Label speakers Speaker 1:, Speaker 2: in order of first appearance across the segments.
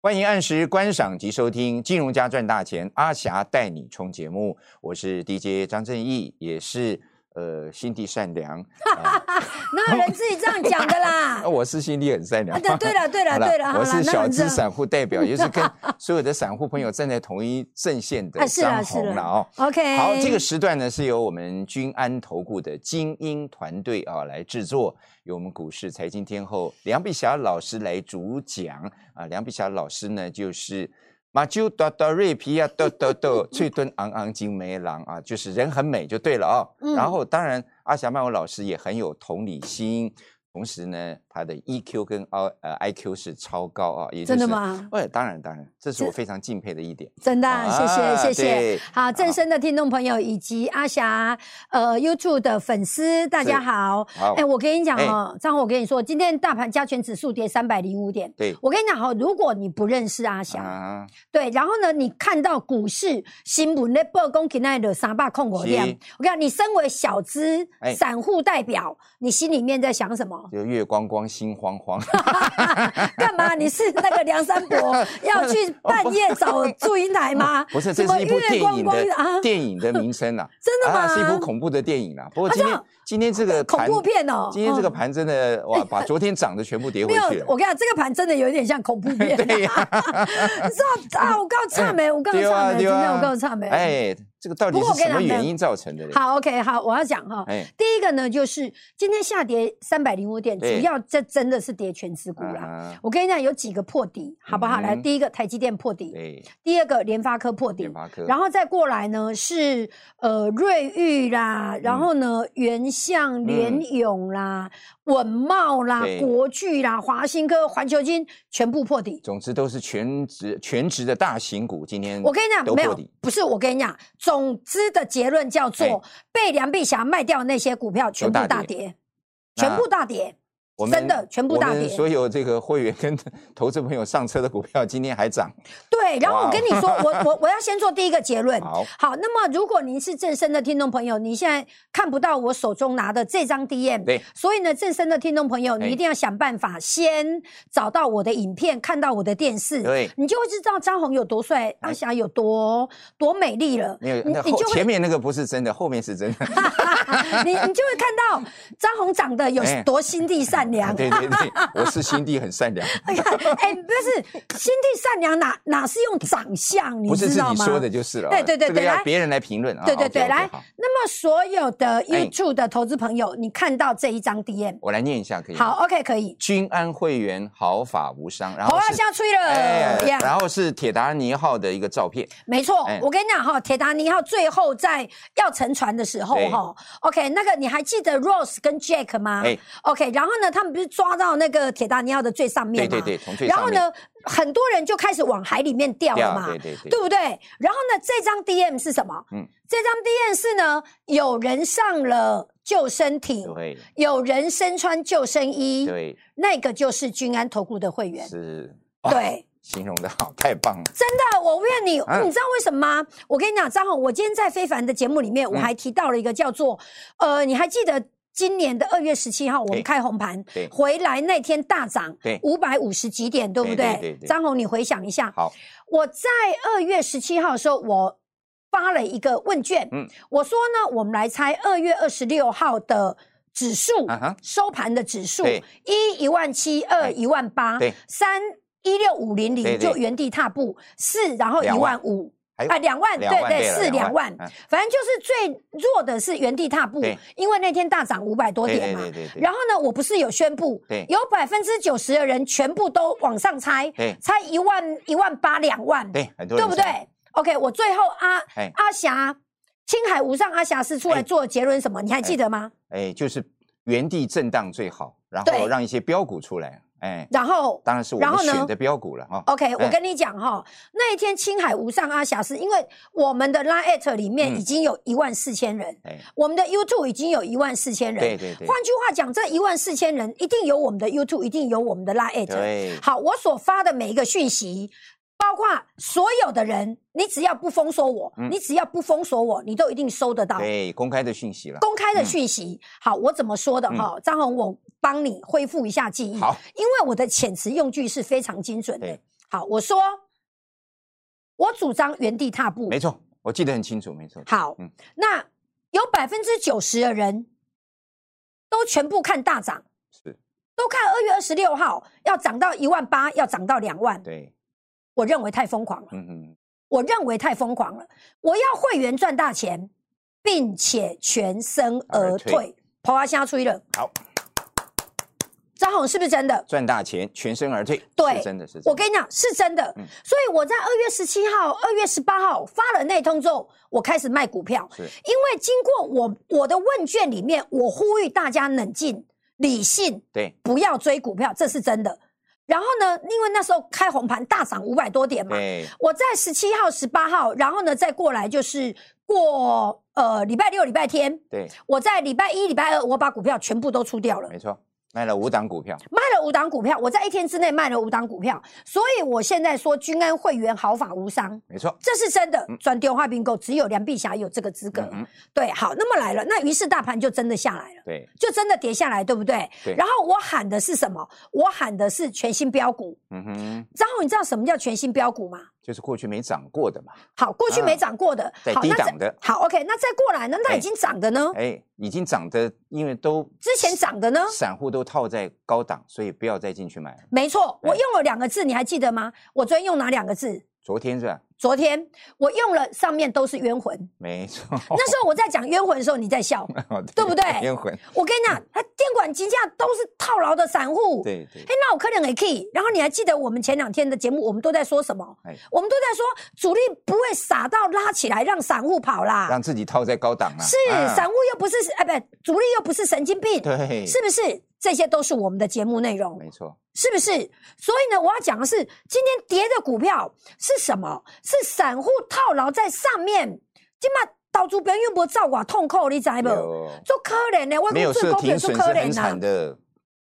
Speaker 1: 欢迎按时观赏及收听《金融家赚大钱》，阿霞带你冲节目，我是 DJ 张正义，也是呃心地善良，
Speaker 2: 哪有人自己这样讲的 啦
Speaker 1: 啊？我是心地很善良。
Speaker 2: 啊对对了对 了
Speaker 1: 好啦
Speaker 2: 对了好啦
Speaker 1: 我是
Speaker 2: 那
Speaker 1: 小
Speaker 2: 很
Speaker 1: 资
Speaker 2: 正
Speaker 1: 散户代表，也是 跟所有的散户朋友站在同一阵线的
Speaker 2: 啊，是
Speaker 1: 张
Speaker 2: 了是
Speaker 1: 红了哦
Speaker 2: 了。，OK。
Speaker 1: 好，这个时段呢是由我们君安投顾的精英团队啊来制作，由我们股市财经天后梁碧霞老师来主讲啊。梁碧霞老师呢就是马啾哆哆瑞皮呀哆哆 哆，翠墩昂昂金梅郎啊，就是人很美就对了哦。
Speaker 2: 嗯
Speaker 1: 然后当然阿霞曼舞老师也很有同理心，同时呢她的 EQ 跟 I 呃 IQ 是超高啊，也就是
Speaker 2: 真的？吗？
Speaker 1: 哎，当然当然，这是
Speaker 2: 这
Speaker 1: 我非常敬佩的一点。
Speaker 2: 真的啊，谢
Speaker 1: 啊
Speaker 2: 谢谢谢
Speaker 1: 对。
Speaker 2: 好，正声的听众朋友以及阿霞呃 YouTube 的粉丝，大家好。
Speaker 1: 好，
Speaker 2: 哎，我跟你讲哦，张宏，我跟你说，今天大盘加权指数跌三百零五点。
Speaker 1: 对
Speaker 2: 我跟你讲哦，如果你不认识阿霞，
Speaker 1: 啊，
Speaker 2: 对，然后呢，你看到股市新闻的报公给那的三百控股量
Speaker 1: 是，
Speaker 2: 我跟你讲，你身为小资
Speaker 1: 哎
Speaker 2: 散户代表，你心里面在想什么？
Speaker 1: 就月光光心慌 慌。？
Speaker 2: 干嘛？你是那个梁山伯要去半夜找祝英台吗
Speaker 1: 不是，
Speaker 2: 什
Speaker 1: 这
Speaker 2: 么
Speaker 1: 是一部
Speaker 2: 月
Speaker 1: 电
Speaker 2: 光
Speaker 1: 影
Speaker 2: 光
Speaker 1: 的、
Speaker 2: 啊，
Speaker 1: 电影的名称啊，
Speaker 2: 真的吗？
Speaker 1: 啊，是一部恐怖的电影啊。不过
Speaker 2: 啊
Speaker 1: 今
Speaker 2: 这
Speaker 1: 天、
Speaker 2: 样
Speaker 1: 今天这个
Speaker 2: 恐
Speaker 1: 盘
Speaker 2: 怖片哦。
Speaker 1: 今天这个
Speaker 2: 嗯
Speaker 1: 盘真 的哇，把昨天涨的全部跌回
Speaker 2: 没有
Speaker 1: 去，了。
Speaker 2: 我跟你讲，这个盘真的有一点像恐怖 片。
Speaker 1: 对呀、
Speaker 2: 你知道啊？我告诉你没，我告诉你
Speaker 1: 对啊
Speaker 2: 没，今
Speaker 1: 对啊
Speaker 2: 天我告诉你没。
Speaker 1: 哎，这个到底
Speaker 2: 不过
Speaker 1: 是
Speaker 2: 我跟
Speaker 1: 什
Speaker 2: 你
Speaker 1: 么
Speaker 2: 讲
Speaker 1: 原因造成的嘞？
Speaker 2: 好，OK，好，我要讲哈。
Speaker 1: 哎，
Speaker 2: 第一个呢，就是今天下跌三百零五点，主
Speaker 1: 对
Speaker 2: 要这真的是跌全指股啦。
Speaker 1: 啊，
Speaker 2: 我跟你讲，有几个破底，好不好？
Speaker 1: 嗯
Speaker 2: 来，第一个台积电破底，
Speaker 1: 对，
Speaker 2: 第二个联发科破底
Speaker 1: 联，发科，
Speaker 2: 然
Speaker 1: 后
Speaker 2: 后再过来呢是呃瑞昱啦，
Speaker 1: 嗯
Speaker 2: 然后呢原相、联永啦、稳茂啦
Speaker 1: 对、
Speaker 2: 国巨啦、华新科、环球金全部破底。
Speaker 1: 总之都是全职全职的大型股，今天
Speaker 2: 我跟你
Speaker 1: 嗯都
Speaker 2: 讲，没
Speaker 1: 破
Speaker 2: 有
Speaker 1: 底，
Speaker 2: 不是我跟你讲，总之的结论叫
Speaker 1: 哎
Speaker 2: 做被梁碧霞卖掉的那些股票全部
Speaker 1: 大
Speaker 2: 大
Speaker 1: 跌
Speaker 2: 跌，
Speaker 1: 那
Speaker 2: 全部大跌。
Speaker 1: 我们
Speaker 2: 真的全部大
Speaker 1: 我们
Speaker 2: 跌
Speaker 1: 所有这个会员跟 投资朋友上车的股票今天还涨，
Speaker 2: 对，然后
Speaker 1: 哇
Speaker 2: 我
Speaker 1: 哦
Speaker 2: 跟你说，我我我要先做第一个结论。
Speaker 1: 好，
Speaker 2: 好，那么如果您是正身的听众朋友，你现在看不到我手中拿的这张 DM，
Speaker 1: 对，
Speaker 2: 所以呢，正身的听众朋友，
Speaker 1: 哎
Speaker 2: 你一定要想办法先找到我的影片，看到我的电视，
Speaker 1: 对哎
Speaker 2: 你就会知道张红有多帅，阿霞有多多美丽了。
Speaker 1: 没有，
Speaker 2: 你
Speaker 1: 那
Speaker 2: 你
Speaker 1: 后
Speaker 2: 就会
Speaker 1: 前面那个不是真的，后面是真的。
Speaker 2: 你你就会看到张红长得有
Speaker 1: 哎
Speaker 2: 多心地善 良。
Speaker 1: 对对 对，我是心地很善良，
Speaker 2: 哎呀，哎，不是心地善良哪哪是用长相，你
Speaker 1: 不是
Speaker 2: 知
Speaker 1: 自
Speaker 2: 道
Speaker 1: 己
Speaker 2: 吗？
Speaker 1: 说的就是了。
Speaker 2: 对对对
Speaker 1: 这个
Speaker 2: 对
Speaker 1: 要
Speaker 2: 来
Speaker 1: 别人来评论啊。
Speaker 2: 对对对
Speaker 1: OK，OK，
Speaker 2: 来
Speaker 1: 好
Speaker 2: 那么所有的
Speaker 1: 哎
Speaker 2: YouTube 的投资朋友，你看到这一张 DM，
Speaker 1: 我来念一下可以吗？
Speaker 2: 好，OK，可以。
Speaker 1: 君安会员毫发无伤，然
Speaker 2: 头
Speaker 1: 后
Speaker 2: 要
Speaker 1: 是哎
Speaker 2: 下吹了，呀
Speaker 1: 然后是铁达尼号的一个照片，
Speaker 2: 没错
Speaker 1: 哎。
Speaker 2: 我跟你讲哈，铁达尼号最后在要沉船的时候
Speaker 1: 对
Speaker 2: 哈，OK，那个你还记得 Rose 跟 Jack 吗
Speaker 1: 哎
Speaker 2: ？OK，然后呢，他们不是抓到那个铁达尼号的最上
Speaker 1: 对
Speaker 2: 面吗？
Speaker 1: 对对，从最
Speaker 2: 然
Speaker 1: 上
Speaker 2: 后
Speaker 1: 面
Speaker 2: 呢，很多人就开始往海里面掉了嘛，
Speaker 1: 对对对，
Speaker 2: 对不对？然后呢，这张 DM 是什么？
Speaker 1: 嗯
Speaker 2: 嗯，这张 DM 是呢，有人上了救生艇，
Speaker 1: 对
Speaker 2: 有人身穿救生衣，
Speaker 1: 对
Speaker 2: 那个就是君安投顾的会员。
Speaker 1: 是，哇
Speaker 2: 对，
Speaker 1: 形容的好， 太棒了，
Speaker 2: 那我问你，
Speaker 1: 啊
Speaker 2: 你知道为什么吗？我跟你讲，张红，我今天在非凡的节目里
Speaker 1: 嗯
Speaker 2: 面，我还提到了一个叫做，呃，你还记得？今年的二月十七号，我
Speaker 1: 对
Speaker 2: 们开红盘
Speaker 1: 对，
Speaker 2: 回来那天大涨
Speaker 1: 对，
Speaker 2: 五百五十几点，对
Speaker 1: 对
Speaker 2: 不
Speaker 1: 对对
Speaker 2: 对
Speaker 1: 对？
Speaker 2: 张红，你回想一下，
Speaker 1: 好，
Speaker 2: 我在二月十七号的时候，我发了一个问卷，
Speaker 1: 嗯
Speaker 2: 我说呢，我们来猜二月二十六号的指数、
Speaker 1: 啊哈
Speaker 2: 收盘的指数，
Speaker 1: 对
Speaker 2: 一一万七，二
Speaker 1: 哎
Speaker 2: 一万八
Speaker 1: 对，
Speaker 2: 三一六五零
Speaker 1: 对对
Speaker 2: 零就原地踏步，四然后一
Speaker 1: 两万
Speaker 2: 万五。
Speaker 1: 还有
Speaker 2: 啊，两万，对
Speaker 1: 两万
Speaker 2: 对，
Speaker 1: 对了
Speaker 2: 四
Speaker 1: 两
Speaker 2: 两
Speaker 1: 万
Speaker 2: 万
Speaker 1: 嗯，
Speaker 2: 反正就是最弱的是原地踏步
Speaker 1: 对，
Speaker 2: 因为那天大涨五百多
Speaker 1: 对
Speaker 2: 点
Speaker 1: 对
Speaker 2: 嘛
Speaker 1: 对。对对，
Speaker 2: 然后呢，我不是有宣布
Speaker 1: 对，
Speaker 2: 有百分之九十的人全部都往上猜
Speaker 1: 对，
Speaker 2: 猜一万、一万八、两万，
Speaker 1: 对很多
Speaker 2: 对
Speaker 1: 人
Speaker 2: 不对
Speaker 1: 猜
Speaker 2: ？OK，我最后阿
Speaker 1: 哎
Speaker 2: 阿霞，青海无上阿霞是出
Speaker 1: 哎
Speaker 2: 来做的结论什么？你还记得吗？
Speaker 1: 哎，就是原地震荡最好，然后
Speaker 2: 对
Speaker 1: 让一些标股出来，哎，
Speaker 2: 然后
Speaker 1: 当然是我
Speaker 2: 然
Speaker 1: 们
Speaker 2: 后呢哦
Speaker 1: 选的标股了哈。
Speaker 2: OK，
Speaker 1: 哎
Speaker 2: 我跟你讲哈，那一天青海无上阿霞是因为我们的 Line at 里面
Speaker 1: 嗯
Speaker 2: 已经有一万四千人，
Speaker 1: 哎，
Speaker 2: 我们的 YouTube 已经有一万四千人，
Speaker 1: 对对对
Speaker 2: 换句话讲，这一万四千人一定有我们的 YouTube，一定有我们的 Line at。
Speaker 1: 对，
Speaker 2: 好，我所发的每一个讯息，包括所有的人，你只要不封锁我，
Speaker 1: 嗯
Speaker 2: 你只要不封锁我，你都一定收得到。
Speaker 1: 对，嗯公开的讯息了。
Speaker 2: 公开的讯息，好，我怎么说的
Speaker 1: 嗯
Speaker 2: 哈、张红，我帮你恢复一下记忆。
Speaker 1: 好，
Speaker 2: 因为我的遣词用句是非常精准的
Speaker 1: 对。
Speaker 2: 好，我说，我主张原地踏步。
Speaker 1: 没错，我记得很清楚，没错。
Speaker 2: 好，
Speaker 1: 嗯
Speaker 2: 那有百分之九十的人都全部看大涨，
Speaker 1: 是
Speaker 2: 都看二月二十六号要涨到一万八，要涨到两万。
Speaker 1: 对，
Speaker 2: 我认为太疯狂了，
Speaker 1: 嗯哼，
Speaker 2: 我认为太疯狂了。我要会员赚大钱，并且全身而
Speaker 1: 而退
Speaker 2: 退。跑啊，瞎吹了。
Speaker 1: 好，
Speaker 2: 张红是不是真的？
Speaker 1: 赚大钱，全身而退，
Speaker 2: 对
Speaker 1: 是真的是真的。
Speaker 2: 我跟你讲是真的，
Speaker 1: 嗯
Speaker 2: 所以我在二月十七号、二月十八号发了那通之后，我开始卖股票，
Speaker 1: 是
Speaker 2: 因为经过我我的问卷里面，我呼吁大家冷静、理性，
Speaker 1: 对
Speaker 2: 不要追股票，这是真的。然后呢，因为那时候开红盘大涨五百多点嘛，
Speaker 1: 对，
Speaker 2: 我在十七号、十八号，然后呢再过来就是过呃礼拜六、礼拜天，
Speaker 1: 对，
Speaker 2: 我在礼拜一、礼拜二我把股票全部都出掉了。
Speaker 1: 没错，卖了五档股票，
Speaker 2: 卖了五档股票，我在一天之内卖了五档股票，所以我现在说君安会员毫发无伤，
Speaker 1: 没错。
Speaker 2: 这是真的。转电话并购只有梁碧霞有这个资格。
Speaker 1: 嗯嗯哼，
Speaker 2: 对，好，那么来了，那于是大盘就真的下来了。
Speaker 1: 对，
Speaker 2: 就真的跌下来，对不对？
Speaker 1: 对
Speaker 2: 然后我喊的是什么？我喊的是全新标股。
Speaker 1: 嗯哼，
Speaker 2: 张宏，你知道什么叫全新标股吗？
Speaker 1: 就是过去没涨过的嘛，
Speaker 2: 好，过去
Speaker 1: 啊
Speaker 2: 没涨过的，
Speaker 1: 在
Speaker 2: 好，
Speaker 1: 低
Speaker 2: 那嗯再
Speaker 1: 档的，
Speaker 2: 好，OK，那再过来呢？那
Speaker 1: 哎
Speaker 2: 已经涨的呢？
Speaker 1: 哎，已经涨的，因为都
Speaker 2: 之前涨的呢？
Speaker 1: 散户都套在高档，所以不要再进去买了。
Speaker 2: 没错，
Speaker 1: 哎
Speaker 2: 我用了两个字，你还记得吗？我昨天用哪两个字？
Speaker 1: 昨天是吧？
Speaker 2: 昨天我用了，上面都是冤魂。
Speaker 1: 没错，
Speaker 2: 那时候我在讲冤魂的时候，你在笑。对不对
Speaker 1: 冤魂，
Speaker 2: 我跟你讲，他监管金价都是套牢的散户。哎，
Speaker 1: 嗯对对，
Speaker 2: 那我可能也可以。然后你还记得我们前两天的节目，我们都在说什么？
Speaker 1: 哎，
Speaker 2: 我们都在说主力不会傻到拉起来让散户跑啦。
Speaker 1: 让自己套在高档啊，
Speaker 2: 是，
Speaker 1: 啊
Speaker 2: 散户又不是哎，不，主力又不是神经病，
Speaker 1: 对，
Speaker 2: 是不是？这些都是我们的节目内容。
Speaker 1: 没错，
Speaker 2: 是不是？所以呢，我要讲的是，今天跌的股票是什么？是散户套牢在上面，今嘛导主别人又不照我痛苦，你知无？
Speaker 1: 有
Speaker 2: 做可怜的，我
Speaker 1: 没有
Speaker 2: 讲这
Speaker 1: 设
Speaker 2: 股票
Speaker 1: 停
Speaker 2: 做
Speaker 1: 损
Speaker 2: 可
Speaker 1: 是很
Speaker 2: 怜
Speaker 1: 惨
Speaker 2: 啦，
Speaker 1: 的，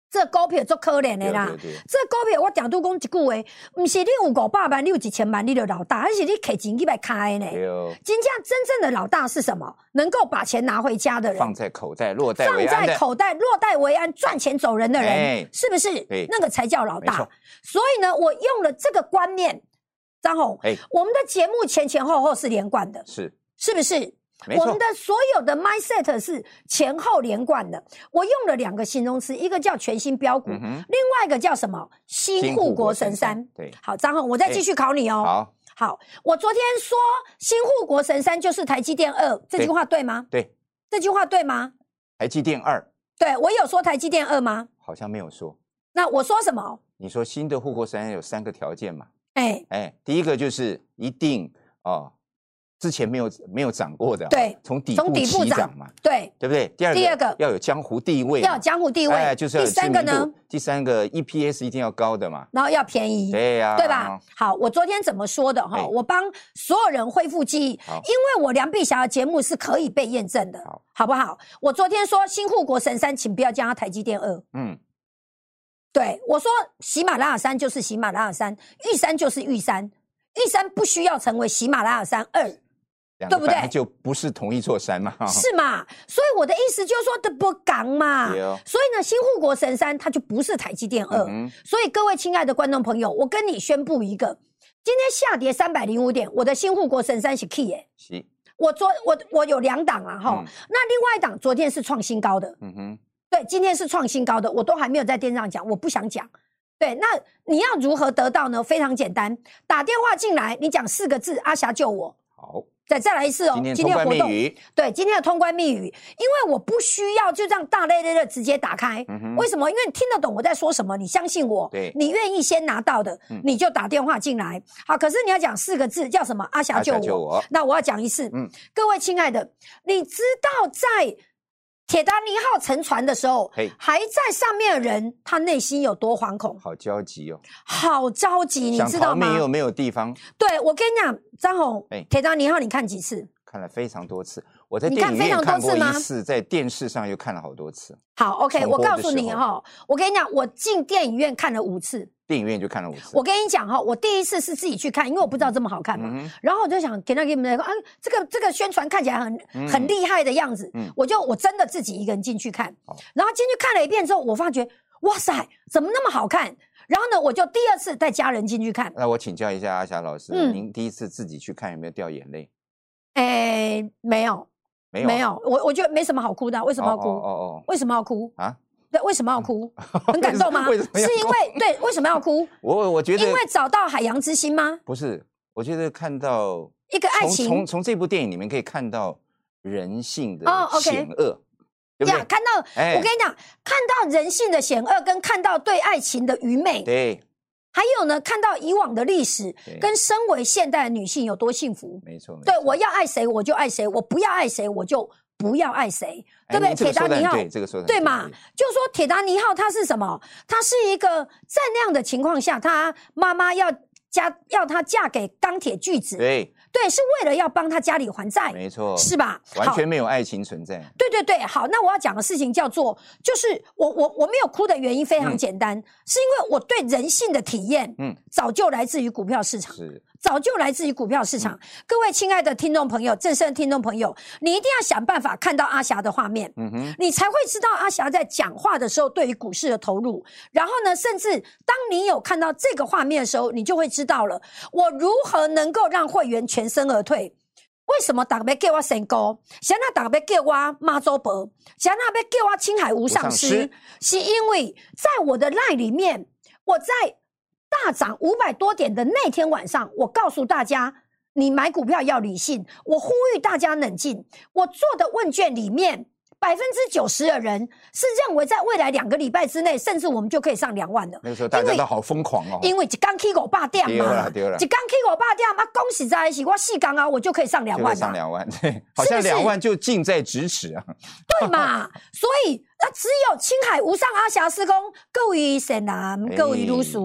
Speaker 2: 这股票做可怜的
Speaker 1: 对
Speaker 2: 啦
Speaker 1: 对。对，
Speaker 2: 这股票我定都讲一句话，不是你有五百万，你有一千万，你就老大，还是你摕钱去来开的呢？
Speaker 1: 对哦，
Speaker 2: 真正真正的老大是什么？能够把钱拿回家的人，
Speaker 1: 放在口袋，落袋
Speaker 2: 放
Speaker 1: 为安
Speaker 2: 在
Speaker 1: 的，
Speaker 2: 口袋，落袋为安，赚钱走人的人，
Speaker 1: 哎
Speaker 2: 是不是
Speaker 1: 对？
Speaker 2: 那个才叫老
Speaker 1: 没
Speaker 2: 大
Speaker 1: 错。
Speaker 2: 所以呢，我用了这个观念，张红，
Speaker 1: 哎，
Speaker 2: 我们的节目前前后后是连贯的，
Speaker 1: 是，
Speaker 2: 是不是？
Speaker 1: 没
Speaker 2: 我
Speaker 1: 错
Speaker 2: 们，的所有的 mindset 是前后连贯的。我用了两个形容词，一个叫全新标股，
Speaker 1: 嗯哼，
Speaker 2: 另外一个叫什么？新护国神山。
Speaker 1: 对，
Speaker 2: 好，张红，我再继续考你哦。
Speaker 1: 哎好，
Speaker 2: 好，我昨天说新护国神山就是台积电二，这句
Speaker 1: 对
Speaker 2: 话对吗？
Speaker 1: 对，
Speaker 2: 这句话对吗？
Speaker 1: 台积电二
Speaker 2: 对我有说台积电二吗？
Speaker 1: 好像没有说，
Speaker 2: 那我说什么？
Speaker 1: 你说新的护国神山有三个条件嘛？
Speaker 2: 哎，
Speaker 1: 哎，第一个就是一定哦，之前没有没有涨过的啊，
Speaker 2: 对
Speaker 1: 从底
Speaker 2: 从
Speaker 1: 部
Speaker 2: 底部
Speaker 1: 起
Speaker 2: 涨
Speaker 1: 涨嘛，
Speaker 2: 对，
Speaker 1: 对不对？第二个
Speaker 2: 第二个
Speaker 1: 要有江湖地位嘛，
Speaker 2: 要有江湖地位，
Speaker 1: 哎，就是要
Speaker 2: 第
Speaker 1: 有知
Speaker 2: 三个
Speaker 1: 名
Speaker 2: 呢
Speaker 1: 度，，第三个 EPS 一定要高的嘛，
Speaker 2: 然后要便宜，
Speaker 1: 对啊呀，
Speaker 2: 对吧？？好，我昨天怎么说的哈？
Speaker 1: 哎
Speaker 2: 我帮所有人恢复记忆，因
Speaker 1: 好
Speaker 2: 为我梁碧霞的节目是可以被验证的，
Speaker 1: 好
Speaker 2: 不好？我昨天说新护国神山，请不要加台积电二。
Speaker 1: 嗯，
Speaker 2: 对我说，喜马拉雅山就是喜马拉雅山，玉山就是玉山，玉山不需要成为喜马拉雅山二。
Speaker 1: 啊两
Speaker 2: 对
Speaker 1: 个
Speaker 2: 不
Speaker 1: 本
Speaker 2: 对
Speaker 1: 来就不是同一座山嘛，
Speaker 2: 是啊嘛？所以我的意思就是说，这不港嘛。
Speaker 1: 对哦
Speaker 2: 所以呢，新护国神山它就不是台积电二、
Speaker 1: 嗯哼
Speaker 2: 所以各位亲爱的观众朋友，我跟你宣布一个，今天下跌三百零五点，我的新护国神山是 key 耶、
Speaker 1: 是，
Speaker 2: 我昨我我有两档啊哈、
Speaker 1: 嗯
Speaker 2: 那另外一档昨天是创新高的，
Speaker 1: 嗯哼，
Speaker 2: 对，今天是创新高的，我都还没有在电视上讲，我不想讲。对，那你要如何得到呢？非常简单，打电话进来，你讲四个字“阿霞救我
Speaker 1: 好，”，
Speaker 2: 再再来一次哦。
Speaker 1: 今天通关
Speaker 2: 活
Speaker 1: 密
Speaker 2: 动
Speaker 1: 语，
Speaker 2: 对今天的通关密语，因为我不需要就这样大咧咧的直接打开。
Speaker 1: 嗯哼，
Speaker 2: 为什么？因为你听得懂我在说什么，你相信我
Speaker 1: 对，
Speaker 2: 你愿意先拿到的，
Speaker 1: 嗯
Speaker 2: 你就打电话进来。好，可是你要讲四个字，叫什么？阿霞
Speaker 1: 大
Speaker 2: 救
Speaker 1: 家
Speaker 2: 我。
Speaker 1: 救我，
Speaker 2: 那我要讲一次，
Speaker 1: 嗯
Speaker 2: 各位亲爱的，你知道在铁达尼号沉船的时候
Speaker 1: 嘿，
Speaker 2: 还在上面的人，他内心有多惶恐，
Speaker 1: 好焦急哦，
Speaker 2: 好着急，你
Speaker 1: 想
Speaker 2: 知道
Speaker 1: 逃命又
Speaker 2: 吗？
Speaker 1: 没有地方，
Speaker 2: 对，我跟你讲，张红
Speaker 1: 哎，
Speaker 2: 铁达尼号你看几次？
Speaker 1: 看了非常多次，我在
Speaker 2: 你
Speaker 1: 电
Speaker 2: 看
Speaker 1: 影
Speaker 2: 非
Speaker 1: 院
Speaker 2: 常
Speaker 1: 看
Speaker 2: 多
Speaker 1: 过
Speaker 2: 次吗
Speaker 1: 一次，在电视上又看了好多次，
Speaker 2: 好，OK，
Speaker 1: 重
Speaker 2: 我
Speaker 1: 播的
Speaker 2: 告诉
Speaker 1: 时
Speaker 2: 你
Speaker 1: 候
Speaker 2: 哈，我跟你讲，我进电影院看了五次。
Speaker 1: 电影院就看了五次。
Speaker 2: 我跟你讲哈，我第一次是自己去看，因为我不知道这么好看嘛。
Speaker 1: 嗯哼，
Speaker 2: 然后我就想给他给你们啊，这个这个宣传看起来很、
Speaker 1: 嗯
Speaker 2: 很厉害的样子，
Speaker 1: 嗯
Speaker 2: 我就我真的自己一个人进去看
Speaker 1: 好，
Speaker 2: 然后进去看了一遍之后，我发觉哇塞，怎么那么好看？然后呢，我就第二次带家人进去看，
Speaker 1: 那我请教一下阿霞老师，
Speaker 2: 嗯
Speaker 1: 您第一次自己去看有没有掉眼泪？
Speaker 2: 哎，没有，
Speaker 1: 没有，啊
Speaker 2: 没，有，我我觉得没什么好哭的，为什么要
Speaker 1: 哦
Speaker 2: 哭？
Speaker 1: 哦
Speaker 2: 为什么要哭？
Speaker 1: 哦啊！
Speaker 2: 对，为什么要哭？很感动吗？
Speaker 1: 为什么要
Speaker 2: 是因
Speaker 1: 哭
Speaker 2: 为对，为什么要哭？
Speaker 1: 我我 觉得
Speaker 2: 因为找到海洋之心吗？
Speaker 1: 不是，我觉得看到
Speaker 2: 一个爱
Speaker 1: 从从
Speaker 2: 情
Speaker 1: 从这部电影里面可以看到人性的
Speaker 2: 哦，OK
Speaker 1: 险恶，对不
Speaker 2: 呀，
Speaker 1: 对？
Speaker 2: 看到
Speaker 1: 哎
Speaker 2: 我跟你讲，看到人性的险恶，跟看到对爱情的愚昧，
Speaker 1: 对，
Speaker 2: 还有呢，看到以往的历史
Speaker 1: 对，
Speaker 2: 跟身为现代的女性有多幸福。
Speaker 1: 没错，没
Speaker 2: 对，
Speaker 1: 错
Speaker 2: 我要爱谁我就爱谁，我不要爱谁我就不要爱谁，对不
Speaker 1: 哎
Speaker 2: 对？
Speaker 1: 您这个
Speaker 2: 铁达
Speaker 1: 说得
Speaker 2: 尼
Speaker 1: 很
Speaker 2: 号，
Speaker 1: 对这个说的
Speaker 2: 对嘛？就说铁达尼号它是什么？它是一个在那样的情况下，她妈妈要嫁要她嫁给钢铁巨子，
Speaker 1: 对，
Speaker 2: 对，是为了要帮她家里还债，
Speaker 1: 没错，
Speaker 2: 是吧？
Speaker 1: 完
Speaker 2: 好
Speaker 1: 全没有爱情存在。
Speaker 2: 对对对，好，那我要讲的事情叫做，就是我我我没有哭的原因非常简单，是因为我对人性的体验，
Speaker 1: 嗯
Speaker 2: 嗯，早就来自于股票市场，
Speaker 1: 是，
Speaker 2: 早就来自于股票市场。各位亲爱的听众朋友，正声的听众朋友，你一定要想办法看到阿霞的画面。
Speaker 1: 嗯哼，
Speaker 2: 你才会知道阿霞在讲话的时候对于股市的投入。然后呢，甚至当你有看到这个画面的时候，你就会知道了我如何能够让会员全身而退。为什么打别给我神沟？想那打别给我妈祖伯？想那别给我青海无上
Speaker 1: 无上
Speaker 2: 师
Speaker 1: 师？
Speaker 2: 是因为在我的赖里面，我在大涨五百多点的那天晚上，我告诉大家，你买股票要理性。我呼吁大家冷静。我做的问卷里面，百分之九十的人是认为在未来两个礼拜之内，甚至我们就可以上两万了。
Speaker 1: 那个时候大
Speaker 2: 因
Speaker 1: 家
Speaker 2: 为
Speaker 1: 都好疯狂哦，
Speaker 2: 因为一刚 K 狗霸店
Speaker 1: 对
Speaker 2: 嘛，
Speaker 1: 啦对啦
Speaker 2: 一刚 K 狗霸店嘛，恭喜啊在一起，我细刚啊，我就可以上两
Speaker 1: 就
Speaker 2: 万
Speaker 1: 会
Speaker 2: 了
Speaker 1: 上。两万，对，好像
Speaker 2: 是不是
Speaker 1: 两万就近在咫尺啊。
Speaker 2: 对嘛？ 所以那只有青海无上阿霞师公，各位神男，各位女士，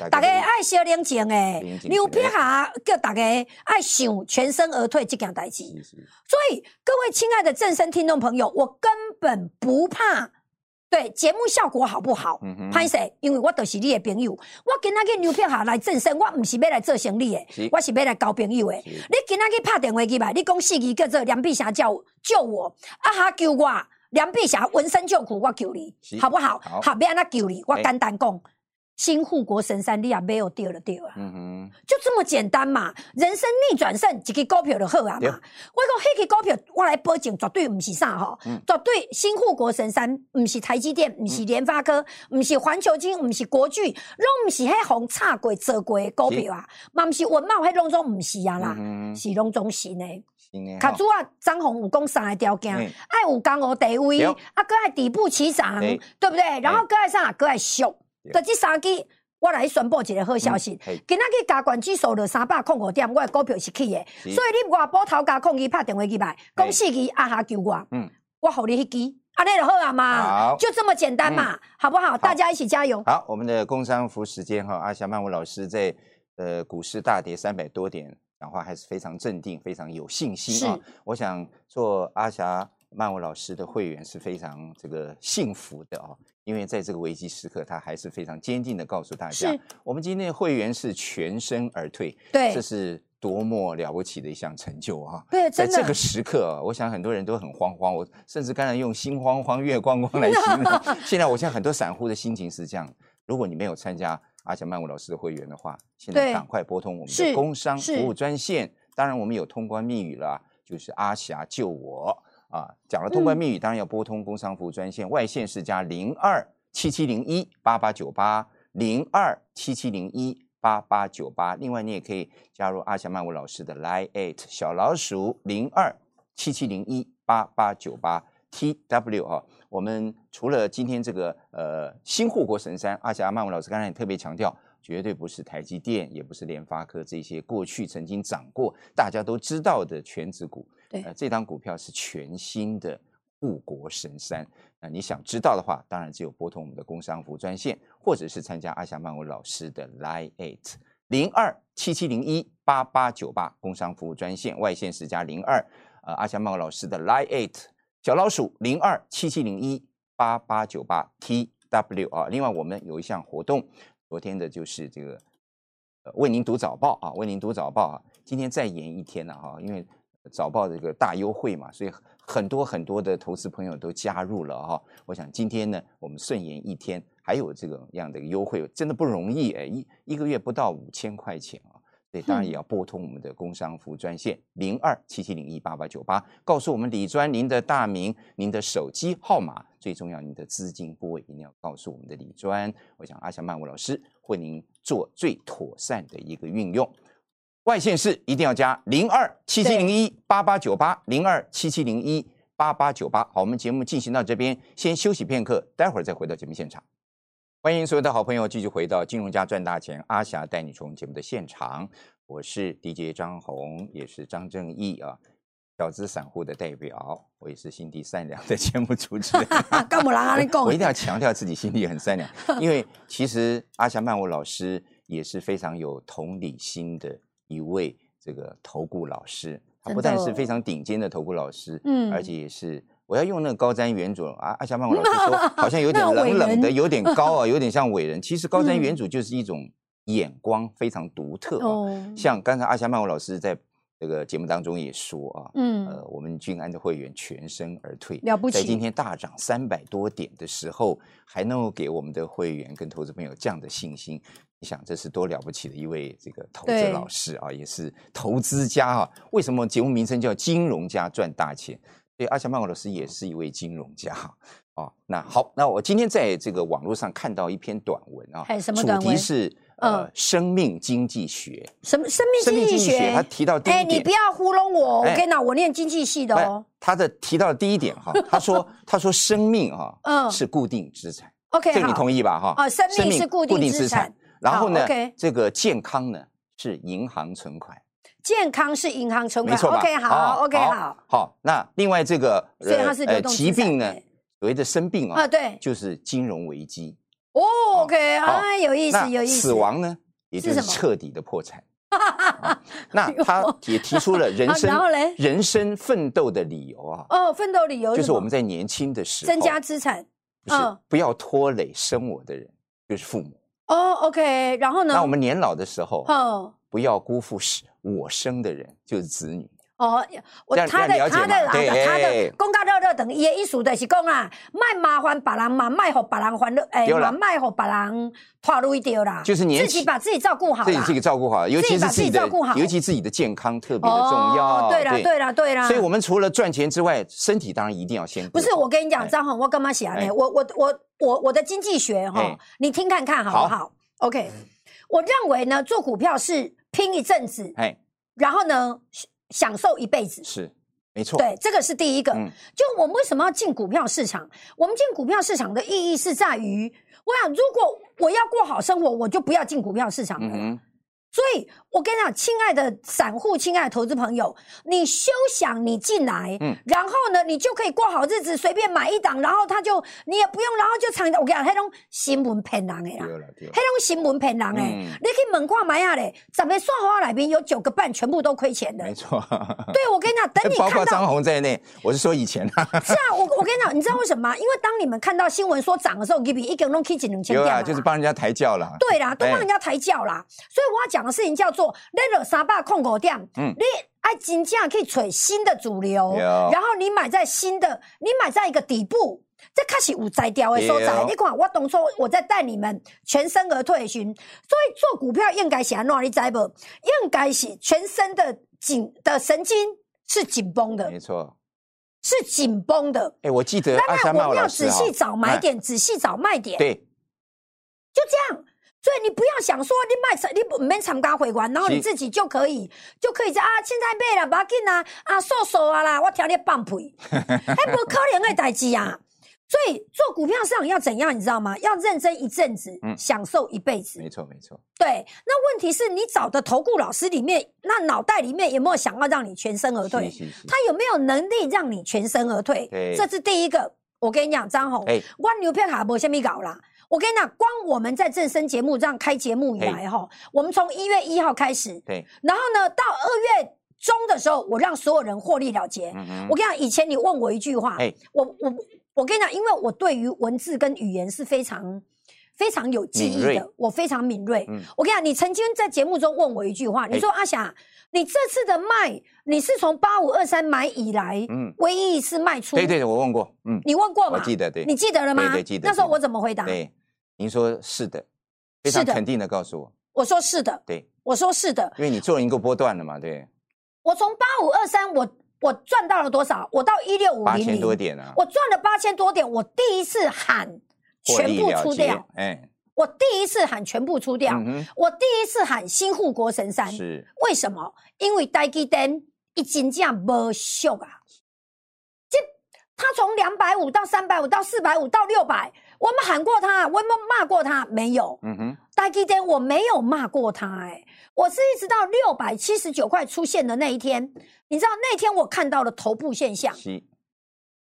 Speaker 1: 哎
Speaker 2: 大家爱惜冷静诶
Speaker 1: 冷，静
Speaker 2: 牛皮下叫大家爱想全身而退这件代志。
Speaker 1: 是是
Speaker 2: 所以各位亲爱的正声听众朋友，我根本不怕。对节目效果好不好
Speaker 1: 嗯哼？
Speaker 2: 拍谁、因为我就是你的朋友，我今仔去牛皮下来正身，我唔是要来做生意的，
Speaker 1: 是
Speaker 2: 我是要来交朋友的。
Speaker 1: 是
Speaker 2: 你今仔去拍电话去吧，你讲四字叫做梁碧霞叫救我，啊哈救我，梁碧霞闻声救苦，我救你
Speaker 1: 是，
Speaker 2: 好不好？
Speaker 1: 好
Speaker 2: 好，要安怎救你？我
Speaker 1: 哎
Speaker 2: 简单讲，新护国神山你也没有掉了掉啊。
Speaker 1: 嗯
Speaker 2: 就这么简单嘛，人生逆转胜，一支股票就好啊嘛。我
Speaker 1: 对
Speaker 2: 讲迄支股票，我来保证绝对毋是啥吼，
Speaker 1: 嗯
Speaker 2: 绝对新护国神山，毋是台积电，毋是联发科，
Speaker 1: 嗯
Speaker 2: 毋是环球金，毋是国巨，拢毋是迄红插过做过的股票啊，嘛毋是文茂，迄拢总毋是啊
Speaker 1: 哼，
Speaker 2: 啦，
Speaker 1: 嗯哼，哦
Speaker 2: 是拢总是呢。
Speaker 1: 新年
Speaker 2: 卡
Speaker 1: 好
Speaker 2: 主，啊，张宏有讲三个条件，
Speaker 1: 嗯
Speaker 2: 爱有江湖地位，
Speaker 1: 对
Speaker 2: 啊，搁爱底部起涨，
Speaker 1: 对
Speaker 2: 对不对？然后搁爱啥？搁爱俗，就这三支，我来宣布一个好消息。
Speaker 1: 嗯嘿
Speaker 2: 今仔日加权指数落三百零五点，我的股票是起的，
Speaker 1: 是
Speaker 2: 所以你外部头家控伊拍电话去来，讲
Speaker 1: 嘿
Speaker 2: 四支啊哈求我，
Speaker 1: 嗯
Speaker 2: 我互你迄支，安尼就好啊嘛
Speaker 1: 好，嗯
Speaker 2: 就这么简单嘛，好不好？大家一起加油。
Speaker 1: 好，我们的工商服时间哈，阿霞曼舞老师在呃股市大跌三百多点，讲话还是非常镇定，非常有信心啊。我想做阿霞曼舞老师的会员是非常这个幸福的哦，因为在这个危机时刻，他还是非常坚定的告诉大家
Speaker 2: 是，
Speaker 1: 我们今天的会员是全身而退，
Speaker 2: 对
Speaker 1: 这是多么了不起的一项成就啊！
Speaker 2: 对，
Speaker 1: 在
Speaker 2: 真
Speaker 1: 这个
Speaker 2: 的，
Speaker 1: 时刻啊，我想很多人都很慌慌，我甚至刚才用心慌慌、月光光来形 容。现在我现在很多散户的心情是这样：如果你没有参加阿强曼舞老师的会员的话，现在
Speaker 2: 对
Speaker 1: 赶快拨通我们的
Speaker 2: 是
Speaker 1: 工商服
Speaker 2: 是
Speaker 1: 务专线。当然，我们有通关密语啦，就是阿霞救我啊。讲了通关密语，当然要拨通工商服务专线，外线是加零二七七零一八八九八零二七七零一。八八九八，另外你也可以加入阿霞曼舞老师的 Line Eight 小老鼠零二七七零一八八九八 TW 啊。我们除了今天这个呃新护国神山，阿霞曼舞老师刚才也特别强调，绝对不是台积电，也不是联发科这些过去曾经涨过大家都知道的全指股。
Speaker 2: 对
Speaker 1: 呃，这档股票是全新的护国神山。那你想知道的话，当然只有拨通我们的工商服务专线，或者是参加阿霞曼舞老师的 Line Eight。零二七七零一八八九八工商服务专线外线十加零二，呃，阿翔茂老师的 Line Eight 小老鼠零二七七零一八八九八 TW 啊。另外，我们有一项活动，昨天的就是这个呃为您读早报啊，为您读早报啊，今天再延一天了哈、因为。早报的一个大优惠嘛，所以很多很多的投资朋友都加入了哈、我想今天呢，我们顺延一天还有这个样的一个优惠，真的不容易哎，一一个月不到五千块钱啊。所以当然也要拨通我们的工商服务专线零二七七零一八八九八，告诉我们李专您的大名、您的手机号码，最重要您的资金部位一定要告诉我们的李专。我想阿翔曼舞老师会您做最妥善的一个运用。外线是一定要加零二七七零一八八九八零二七七零一八八九八。好，我们节目进行到这边，先休息片刻，待会儿再回到节目现场。欢迎所有的好朋友继续回到《金融家赚大钱》，阿霞带你从节目的现场，我是 DJ 张红，也是张正义啊，小资散户的代表，我也是心地善良的 节目主持人。
Speaker 2: 啊，干嘛啦？你讲
Speaker 1: 我一定要强调自己心地很善良，因为其实阿霞曼舞老师也是非常有同理心的一位这个投顾老师，他
Speaker 2: 真
Speaker 1: 不但
Speaker 2: 的
Speaker 1: 是
Speaker 2: 哦
Speaker 1: 非常顶尖的投顾老师，
Speaker 2: 嗯
Speaker 1: 而且也是。我要用那个高瞻远瞩啊！阿霞曼舞老师 说，好像有点
Speaker 2: 那种伟
Speaker 1: 冷冷的，
Speaker 2: 人
Speaker 1: 有点高啊，有点像伟 人。其实高瞻
Speaker 2: 嗯
Speaker 1: 远瞩就是一种眼光非常独特啊。
Speaker 2: 哦，
Speaker 1: 像刚才阿霞曼舞老师在这个节目当中也说啊，
Speaker 2: 嗯
Speaker 1: 呃，我们君安的会员全身而退，
Speaker 2: 了不
Speaker 1: 在今
Speaker 2: 起
Speaker 1: 天大涨三百多点的时候，还能够给我们的会员跟投资朋友这样的信心，你想这是多了不起的一位这个投资
Speaker 2: 对
Speaker 1: 老师啊，也是投资家啊。为什么节目名称叫《金融家赚大钱》？对，阿强曼谷老师也是一位金融家啊。哦，那好，那我今天在这个网络上看到一篇短文啊，
Speaker 2: 哎什么
Speaker 1: 主
Speaker 2: 短
Speaker 1: 题
Speaker 2: 文
Speaker 1: 是呃、
Speaker 2: 嗯
Speaker 1: 生命经济学，
Speaker 2: 什么生
Speaker 1: 生
Speaker 2: 命
Speaker 1: 命
Speaker 2: 经
Speaker 1: 经
Speaker 2: 济
Speaker 1: 济学，他
Speaker 2: 学？
Speaker 1: 提到第一
Speaker 2: 哎，
Speaker 1: 点，
Speaker 2: 你不要糊弄我，
Speaker 1: 哎
Speaker 2: 我跟你讲，我念经济系的
Speaker 1: 不是
Speaker 2: 哦。
Speaker 1: 哎他的提到的第一点 哈，他说他说生命哈、
Speaker 2: 嗯
Speaker 1: 哎是固定资产，
Speaker 2: OK，
Speaker 1: 这个你
Speaker 2: 好
Speaker 1: 同意吧哈？
Speaker 2: 啊生命是固定资产。
Speaker 1: 然后呢
Speaker 2: 好，OK，
Speaker 1: 这个健康呢是银行存款，
Speaker 2: 健康是银行存
Speaker 1: 没
Speaker 2: 款
Speaker 1: 错吧
Speaker 2: ，OK，好
Speaker 1: 哦
Speaker 2: ，OK，好，
Speaker 1: 好。那另外这个呃
Speaker 2: 所以它是流动资
Speaker 1: 疾
Speaker 2: 产
Speaker 1: 病呢
Speaker 2: 对，
Speaker 1: 所谓的生病啊
Speaker 2: 啊，，对，
Speaker 1: 就是金融危机。
Speaker 2: 哦，OK，啊，有意
Speaker 1: 那
Speaker 2: 思，有意思，
Speaker 1: 死亡呢，也就是是
Speaker 2: 什么
Speaker 1: 彻底的破 产。啊那他也提出了人
Speaker 2: 啊
Speaker 1: 生
Speaker 2: 然后嘞
Speaker 1: 人生奋斗的理由啊，
Speaker 2: 哦，奋斗理由
Speaker 1: 就是
Speaker 2: 什么
Speaker 1: 我们哦在年轻的时候啊
Speaker 2: 增加资产，
Speaker 1: 不是
Speaker 2: 嗯
Speaker 1: 不要拖累生我的人，就是父母。
Speaker 2: 哦，OK，然后呢？
Speaker 1: 那我们年老的时候，
Speaker 2: 哦
Speaker 1: 不要辜负是我生的人，就是子女。
Speaker 2: 哦，我
Speaker 1: 这样
Speaker 2: 他
Speaker 1: 这
Speaker 2: 的
Speaker 1: 样了解
Speaker 2: 他的
Speaker 1: 嘛
Speaker 2: 啊
Speaker 1: 对
Speaker 2: 他
Speaker 1: 哎
Speaker 2: 的公告热热等伊的意思就是讲啊，卖麻烦别人嘛，卖互别人烦恼，哎，
Speaker 1: 对啦
Speaker 2: 嘛卖互别人拖累掉啦，
Speaker 1: 就是年
Speaker 2: 自
Speaker 1: 轻
Speaker 2: 己把自己照顾好
Speaker 1: 自己
Speaker 2: 啦，
Speaker 1: 这个照顾好，尤其是
Speaker 2: 自己把
Speaker 1: 自己
Speaker 2: 自己
Speaker 1: 的
Speaker 2: 照顾好，哦
Speaker 1: 尤其自己的健康特别的重要。
Speaker 2: 对啦对啦对啦，
Speaker 1: 所以我们除了赚钱之外，身体当然一定要先顾
Speaker 2: 不
Speaker 1: 好。
Speaker 2: 是，我跟你
Speaker 1: 哎
Speaker 2: 讲，张宏，我干嘛写
Speaker 1: 哎
Speaker 2: 呢？我我我我我的经济学
Speaker 1: 哎
Speaker 2: 哈，你听看看好不
Speaker 1: 好
Speaker 2: 好？OK，我认为呢，做股票是拼一阵子，
Speaker 1: 哎
Speaker 2: 然后呢，享享受一辈子。
Speaker 1: 是没错。
Speaker 2: 对，这个是第一个。
Speaker 1: 嗯
Speaker 2: 就我们为什么要进股票市场？我们进股票市场的意义是在于，我想如果我要过好生活，我就不要进股票市场了。
Speaker 1: 嗯哼，
Speaker 2: 所以，我跟你讲，亲爱的散户，亲爱的投资朋友，你休想你进来，
Speaker 1: 嗯
Speaker 2: 然后呢，你就可以过好日子，随便买一档，然后他就你也不用，然后就长。我跟你讲，那种新闻骗人的啦，
Speaker 1: 对了对了
Speaker 2: 那，种新闻骗人的，
Speaker 1: 嗯
Speaker 2: 你去问看买啊嘞，咱们算花里面有九个半全部都亏钱的
Speaker 1: 没。错。 哎
Speaker 2: 对，我跟你讲，等你
Speaker 1: 包括
Speaker 2: 看 到
Speaker 1: 张红在内，我是说以前啊，
Speaker 2: 是啊，我我跟你讲，你知道为什么吗？因为当你们看到新闻说涨的时候，你比一根弄 K 几两千
Speaker 1: 有
Speaker 2: 掉
Speaker 1: 啊，
Speaker 2: 啦
Speaker 1: 就是帮人家抬轿了。
Speaker 2: 对啦，都
Speaker 1: 哎
Speaker 2: 帮人家抬轿啦。所以我要讲的事情叫做，你有三百控股店，
Speaker 1: 嗯
Speaker 2: 你爱真正去找新的主流
Speaker 1: 对，
Speaker 2: 然后你买在新的，你买在一个底部。这开始有摘掉的所
Speaker 1: 对
Speaker 2: 在
Speaker 1: 哦，
Speaker 2: 你看我当初我在带你们全身而退寻，所以做股票应该是安怎，你知不？应该是全身的紧的神经是紧绷的
Speaker 1: 没，错。
Speaker 2: 是紧绷的。
Speaker 1: 哎，我记得阿
Speaker 2: 当
Speaker 1: 霞
Speaker 2: 然
Speaker 1: 曼
Speaker 2: 我
Speaker 1: 舞
Speaker 2: 们要
Speaker 1: 老师
Speaker 2: 仔
Speaker 1: 啊
Speaker 2: 细找买
Speaker 1: 哎
Speaker 2: 点，仔细找卖点。
Speaker 1: 对，
Speaker 2: 就这样。所以你不要想说你卖参你不免参加会员，然后你
Speaker 1: 是
Speaker 2: 自己就可以就可以在啊，凊彩买啦，不要紧啊，啊，瘦瘦啊啦，我听你 放屁，哎，不可能的代志啊。所以做股票市场要怎样，你知道吗？要认真一阵子，
Speaker 1: 嗯
Speaker 2: 享受一辈子
Speaker 1: 没。错没错。
Speaker 2: 对，那问题是你找的投顾老师里面，那脑袋里面有没有想要让你全身而退？
Speaker 1: 是是是
Speaker 2: 他有没有能力让你全身而退
Speaker 1: 嗯对？
Speaker 2: 这是第一个。我跟你讲，张红，
Speaker 1: 哎
Speaker 2: 我牛票卡没虾米搞啦。我跟你讲，光我们在正声节目这样开节目以来哈，我们从一月一号开始，
Speaker 1: 对，
Speaker 2: 然后呢到二月中的时候，我让所有人获利了结。
Speaker 1: 嗯嗯
Speaker 2: 我跟你讲，以前你问我一句话，
Speaker 1: 哎
Speaker 2: 我我我跟你讲，因为我对于文字跟语言是非常非常有记忆
Speaker 1: 敏锐
Speaker 2: 的，我非常敏锐。
Speaker 1: 嗯哎
Speaker 2: 我跟你讲，你曾经在节目中问我一句话，你说阿霞，你这次的卖，你是从八五二三买以来，
Speaker 1: 嗯，
Speaker 2: 唯一一次卖出，
Speaker 1: 对对，我问过，嗯，
Speaker 2: 你问过
Speaker 1: 我
Speaker 2: 吗？
Speaker 1: 记得，对，
Speaker 2: 你记得了吗？
Speaker 1: 对对记得
Speaker 2: 那时候
Speaker 1: 记得
Speaker 2: 我怎么回答？
Speaker 1: 对，您说是的，非常
Speaker 2: 是的
Speaker 1: 肯定的告诉我，
Speaker 2: 我说是的，
Speaker 1: 对，
Speaker 2: 我说是的。
Speaker 1: 因为你做了一个波段了嘛，对，
Speaker 2: 我从八五二三，我我赚到了多少？我到一六五
Speaker 1: 八
Speaker 2: 零
Speaker 1: 千
Speaker 2: 零，
Speaker 1: 多点啊，
Speaker 2: 我赚了八千多点。我第一次喊
Speaker 1: 获
Speaker 2: 全
Speaker 1: 利
Speaker 2: 部
Speaker 1: 了
Speaker 2: 出
Speaker 1: 结
Speaker 2: 掉，，
Speaker 1: 哎，
Speaker 2: 我第一次喊全部出掉，
Speaker 1: 嗯
Speaker 2: 我第一次喊新护国神山
Speaker 1: 哼，。是
Speaker 2: 为什么？因为台积电已经这样没秀啊！这他从两百五到三百五到四百五到六百，我们喊过他，我们骂过他，没有。
Speaker 1: 嗯哼，
Speaker 2: 台积电我没有骂过他、哎，我是一直到六百七十九块出现的那一天，你知道那天我看到了头部现象，
Speaker 1: 是，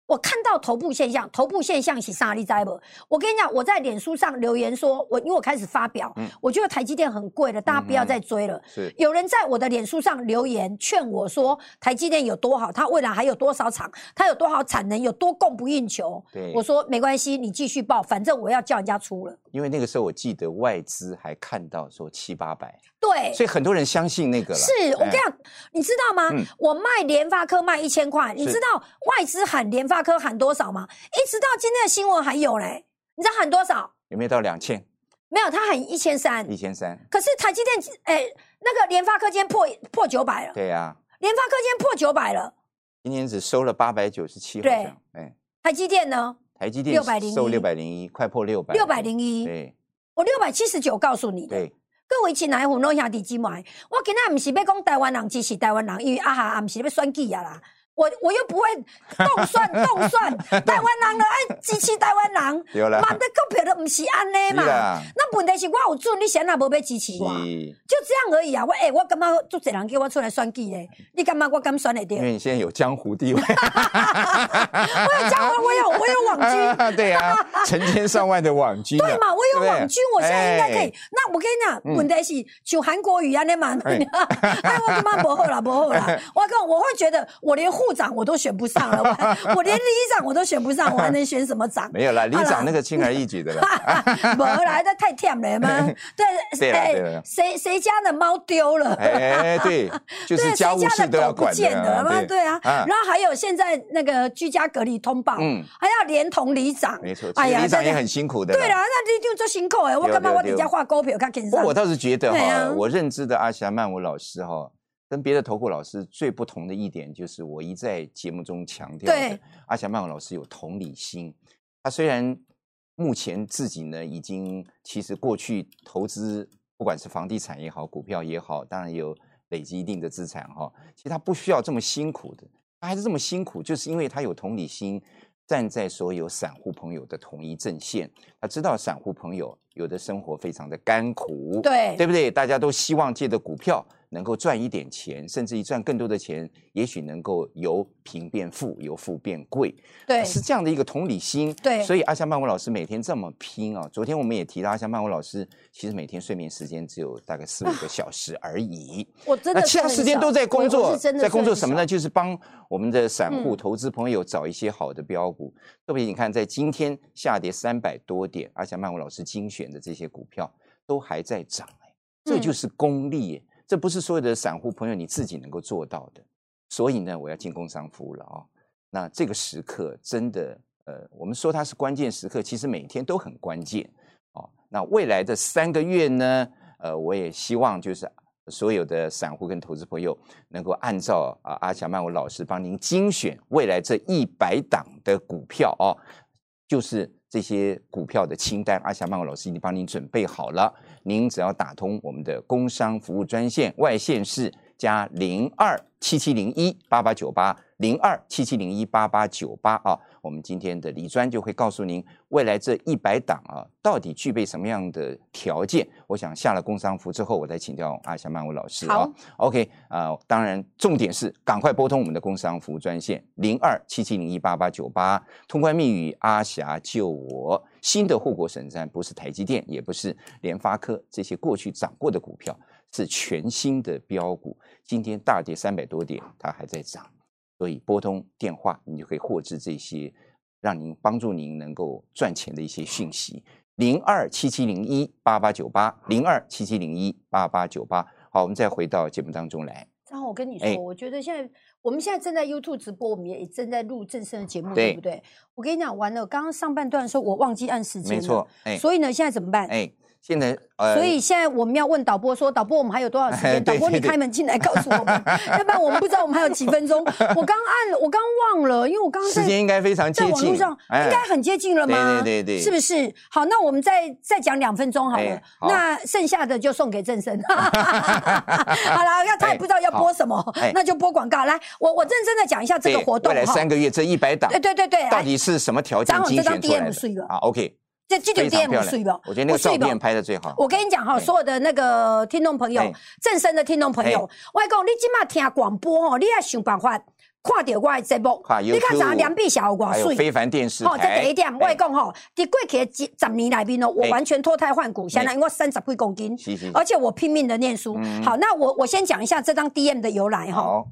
Speaker 2: 我看到头部现象，头部现象是啥？你知道不？我跟你讲，我在脸书上留言说，我因为我开始发表，
Speaker 1: 嗯
Speaker 2: 我觉得台积电很贵了，大家不要再追了。
Speaker 1: 是，
Speaker 2: 有人在我的脸书上留言劝我说，台积电有多好，它未来还有多少厂，它有多少产能，有多供不应求。
Speaker 1: 对，
Speaker 2: 我说没关系，你继续报，反正我要叫人家出了。
Speaker 1: 因为那个时候我记得外资还看到说七八百，
Speaker 2: 对，
Speaker 1: 所以很多人相信那个了，
Speaker 2: 是我
Speaker 1: 哎
Speaker 2: 跟你讲，你知道吗？
Speaker 1: 嗯
Speaker 2: 我卖联发科卖一千块，你
Speaker 1: 是
Speaker 2: 知道外资喊联发科喊多少吗？一直到今天的新闻还有嘞，你知道喊多少？
Speaker 1: 有没有到两千、
Speaker 2: 没有，他喊一千三
Speaker 1: 一。千三？
Speaker 2: 可是台积电，哎、那个联发科今天破破九百了，
Speaker 1: 对呀、啊
Speaker 2: 联发科今天破九百了，
Speaker 1: 今年只收了八百九十七，好
Speaker 2: 对
Speaker 1: 像，哎，
Speaker 2: 台积电呢
Speaker 1: 台积电
Speaker 2: 601
Speaker 1: 收六百零一，快破六百，
Speaker 2: 六百零一。
Speaker 1: 对
Speaker 2: 我六百七十九告诉你的，
Speaker 1: 对，
Speaker 2: 各位亲爱的弄兄弟姊妹，我今仔毋是要讲台湾人支持台湾人，因为啊哈啊毋是要选举啊啦，我我又不会 动算动算，台湾人了爱支持台湾人，
Speaker 1: 有了，
Speaker 2: 万的股票都毋是安尼
Speaker 1: 哦是
Speaker 2: 嘛。
Speaker 1: 啦
Speaker 2: 那问题是我有准，你谁也无要支持我，啊
Speaker 1: 是
Speaker 2: 就这样而已啊！我诶、欸我感觉足侪人叫我出来选举
Speaker 1: 嗯
Speaker 2: 咧，你感觉我敢选会着
Speaker 1: 因？为你现在有江湖地位，
Speaker 2: 我有哎讲，我有我 有网军，
Speaker 1: 对哎呀、成千上万的网军、啊，
Speaker 2: 对嘛？我
Speaker 1: 对不
Speaker 2: 有
Speaker 1: 对
Speaker 2: 网军，我现在应该可以
Speaker 1: 哎。
Speaker 2: 那我跟你讲，
Speaker 1: 嗯
Speaker 2: 问题是像韩国语安尼嘛，
Speaker 1: 哎
Speaker 2: 哎，我他妈不后啦，不后 啦！我跟我会觉得，我连护长我都选不上了，我还我连里长我都选不上，我还能选什么 长？
Speaker 1: 没有啦，里
Speaker 2: 好啦
Speaker 1: 长那个轻而易举的啦，
Speaker 2: 不啦，那太甜了嘛。对，
Speaker 1: 对啦
Speaker 2: 哎
Speaker 1: 对啦
Speaker 2: 谁谁家的猫丢了？
Speaker 1: 哎， 对，就是
Speaker 2: 对，
Speaker 1: 家
Speaker 2: 谁
Speaker 1: 务
Speaker 2: 家
Speaker 1: 事都
Speaker 2: 的
Speaker 1: 要
Speaker 2: 狗不
Speaker 1: 管
Speaker 2: 见了嘛？
Speaker 1: 啊
Speaker 2: 对啊，然后还有现在那个居家隔离通报，
Speaker 1: 嗯，
Speaker 2: 还要连同里长。
Speaker 1: 没错，其
Speaker 2: 哎
Speaker 1: 实
Speaker 2: 呀
Speaker 1: 里长
Speaker 2: 真
Speaker 1: 也
Speaker 2: 的
Speaker 1: 很辛苦的，
Speaker 2: 对啦，。那你就做辛苦哎，我
Speaker 1: 对啊
Speaker 2: 干嘛
Speaker 1: 对
Speaker 2: 我
Speaker 1: 对
Speaker 2: 底下画股票较轻
Speaker 1: 不
Speaker 2: 松
Speaker 1: 过？我倒是觉得
Speaker 2: 对
Speaker 1: 哈、
Speaker 2: 啊
Speaker 1: 我认知的阿霞曼舞老师哈、跟别的投顾老师最不同的一点，就是我一在节目中强调
Speaker 2: 对
Speaker 1: 的，阿霞曼舞老师有同理心。他虽然目前自己呢已经其实过去投资，不管是房地产也好，股票也好，当然有累积一定的资产哈、其实他不需要这么辛苦的，他还是这么辛苦，就是因为他有同理心，站在所有散户朋友的同一阵线。他知道散户朋友有的生活非常的甘苦，
Speaker 2: 对
Speaker 1: 对不对？大家都希望借着股票能够赚一点钱，甚至于赚更多的钱，也许能够由贫变富，由富变贵。
Speaker 2: 对
Speaker 1: 是这样的一个同理心。
Speaker 2: 对
Speaker 1: 所以阿香曼舞老师每天这么拼啊、昨天我们也提到，阿香曼舞老师其实每天睡眠时间只有大概四五个小时而已。
Speaker 2: 我真的
Speaker 1: 那其他
Speaker 2: 睡
Speaker 1: 时间
Speaker 2: 少
Speaker 1: 都在工
Speaker 2: 我我
Speaker 1: 作，
Speaker 2: 是真的
Speaker 1: 在工作
Speaker 2: 睡
Speaker 1: 什么
Speaker 2: 少
Speaker 1: 呢？就是帮我们的散户
Speaker 2: 嗯
Speaker 1: 投资朋友找一些好的标股。特别你看，在今天下跌三百多点，而且曼谷老师精选的这些股票都还在涨、哎，这
Speaker 2: 嗯
Speaker 1: 就是功力、哎这不是所有的散户朋友你自己能够做到的。所以呢，我要进工商服务了啊、那这个时刻真的，呃，我们说它是关键时刻，其实每天都很关键哦。那未来的三个月呢，呃，我也希望就是所有的散户跟投资朋友能够按照啊、阿强曼舞老师帮您精选未来这一百档的股票哦，就是这些股票的清单，阿强曼舞老师已经帮您准备好了。您只要打通我们的工商服务专线外线是加零二七七零一八八九八零二七七零一八八九八啊，我们今天的李专就会告诉您未来这一百档啊到底具备什么样的条件。我想下了工商服之后，我再请教阿霞曼舞老师啊
Speaker 2: 好。
Speaker 1: OK 啊、当然重点是赶快拨通我们的工商服务专线零二七七零一八八九八，通关密语阿霞救我。新的护国神山不是台积电，也不是联发科这些过去涨过的股票，是全新的标股。今天大跌三百多点，它还在涨，所以拨通电话，你就可以获知这些让您帮助您能够赚钱的一些讯息。零二七七零一八八九八零二七七零一八八九八。好，我们再回到节目当中来。
Speaker 2: 然后我跟你
Speaker 1: 哎
Speaker 2: 说，我觉得现在我们现在正在 YouTube 直播，我们也正在录正声的节目，
Speaker 1: 对
Speaker 2: 对不对？我跟你讲，完了，刚刚上半段的时候我忘记按时间，
Speaker 1: 没错，，哎
Speaker 2: 所以呢，现在怎么办？
Speaker 1: 哎，现在呃，
Speaker 2: 所以现在我们要问导播说，导播我们还有多少时间？
Speaker 1: 对
Speaker 2: 导播
Speaker 1: 对
Speaker 2: 你
Speaker 1: 对
Speaker 2: 开门进来告诉 我们，要不然我们不知道我们还有几分钟。我刚按了，我刚忘了，因为我刚刚
Speaker 1: 时间
Speaker 2: 在
Speaker 1: 应该非常接
Speaker 2: 在
Speaker 1: 近，哎
Speaker 2: 网络上应该很接近了吗？
Speaker 1: 对对对对
Speaker 2: 是不是？好，那我们再再讲两分钟好了
Speaker 1: 哎，好
Speaker 2: 那剩下的就送给 正生。好啦，要他也不知道要播什么
Speaker 1: 哎，
Speaker 2: 那就播广告。来，我我认真的讲一下这个
Speaker 1: 对
Speaker 2: 活动
Speaker 1: 未来
Speaker 2: 哈。
Speaker 1: 三个月这一百档
Speaker 2: 对对对对，哎
Speaker 1: 到
Speaker 2: 来，
Speaker 1: 底是什么条件
Speaker 2: 张宏
Speaker 1: 精
Speaker 2: 这张
Speaker 1: 选出来
Speaker 2: DM 睡
Speaker 1: 的
Speaker 2: 了
Speaker 1: 啊？OK，
Speaker 2: 这这
Speaker 1: 非
Speaker 2: 点
Speaker 1: 常
Speaker 2: DM
Speaker 1: 漂
Speaker 2: 睡
Speaker 1: 亮
Speaker 2: 吧，，
Speaker 1: 我觉得那个
Speaker 2: 睡
Speaker 1: 照
Speaker 2: 吧
Speaker 1: 片拍的最好。
Speaker 2: 我跟哦你讲哈，
Speaker 1: 哎
Speaker 2: 所有的那个听众朋友
Speaker 1: 哎、
Speaker 2: 正声的听众朋友，我跟你讲你即马听广播吼，你要想办法看到我的节目
Speaker 1: 看，
Speaker 2: 你看
Speaker 1: YouTube
Speaker 2: 咱梁碧霞有
Speaker 1: 还有
Speaker 2: 偌水。
Speaker 1: 非凡电视
Speaker 2: 吼，这
Speaker 1: 台，
Speaker 2: 第一点，我跟
Speaker 1: 哎
Speaker 2: 你讲吼，伫过去的几十年内面哦，我
Speaker 1: 哎
Speaker 2: 完全脱胎换骨，现在
Speaker 1: 哎
Speaker 2: 因为我三十几公斤
Speaker 1: 是是是，
Speaker 2: 而且我拼命的念书。
Speaker 1: 嗯
Speaker 2: 好，那我我先讲一下这张 DM 的由来哈。
Speaker 1: 好，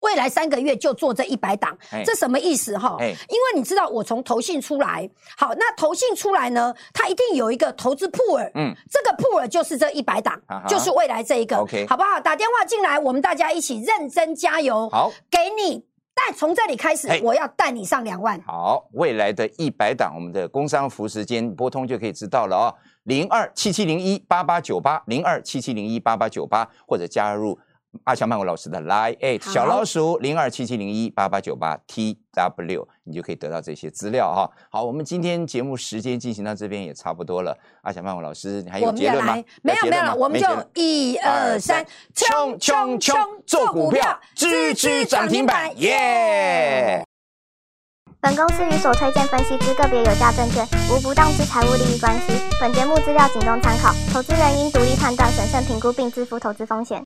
Speaker 2: 未来三个月就做这一百档
Speaker 1: 哎，
Speaker 2: 这什么意思哈？
Speaker 1: 哎
Speaker 2: 因为你知道我从投信出来，好，那投信出来呢，它一定有一个投资铺尔，
Speaker 1: 嗯，
Speaker 2: 这个铺尔就是这一百档
Speaker 1: 啊哈，
Speaker 2: 就是未来这一个
Speaker 1: OK
Speaker 2: 好不好？打电话进来，我们大家一起认真加油，
Speaker 1: 好，
Speaker 2: 给你。但从这里开始
Speaker 1: 嘿，
Speaker 2: 我要带你上两万。
Speaker 1: 好，未来的一百档，我们的工商服时间拨通就可以知道了哦。零二七七零一八八九八，零二七七零一八八九八，或者加入阿强曼谷老师的 Line Eight
Speaker 2: 好
Speaker 1: 小老鼠零二七七零一八八九八 T W，你就可以得到这些资料哈、好，我们今天节目时间进行到这边也差不多了。阿强曼谷老师，你还有
Speaker 2: 我们
Speaker 1: 结
Speaker 2: 要
Speaker 1: 论吗
Speaker 2: 来？，没
Speaker 1: 结
Speaker 2: 有没
Speaker 1: 论
Speaker 2: 有
Speaker 1: 吗
Speaker 2: 了，我们
Speaker 1: 没
Speaker 2: 就
Speaker 1: 结论
Speaker 2: 一二三，
Speaker 1: 冲冲冲，做股票，支支涨停板，耶、
Speaker 3: 本公司与所推荐分析之个别有价证券无不当之财务利益关系。本节目资料仅供参考，投资人应独立判断、审慎评估并自负投资风险。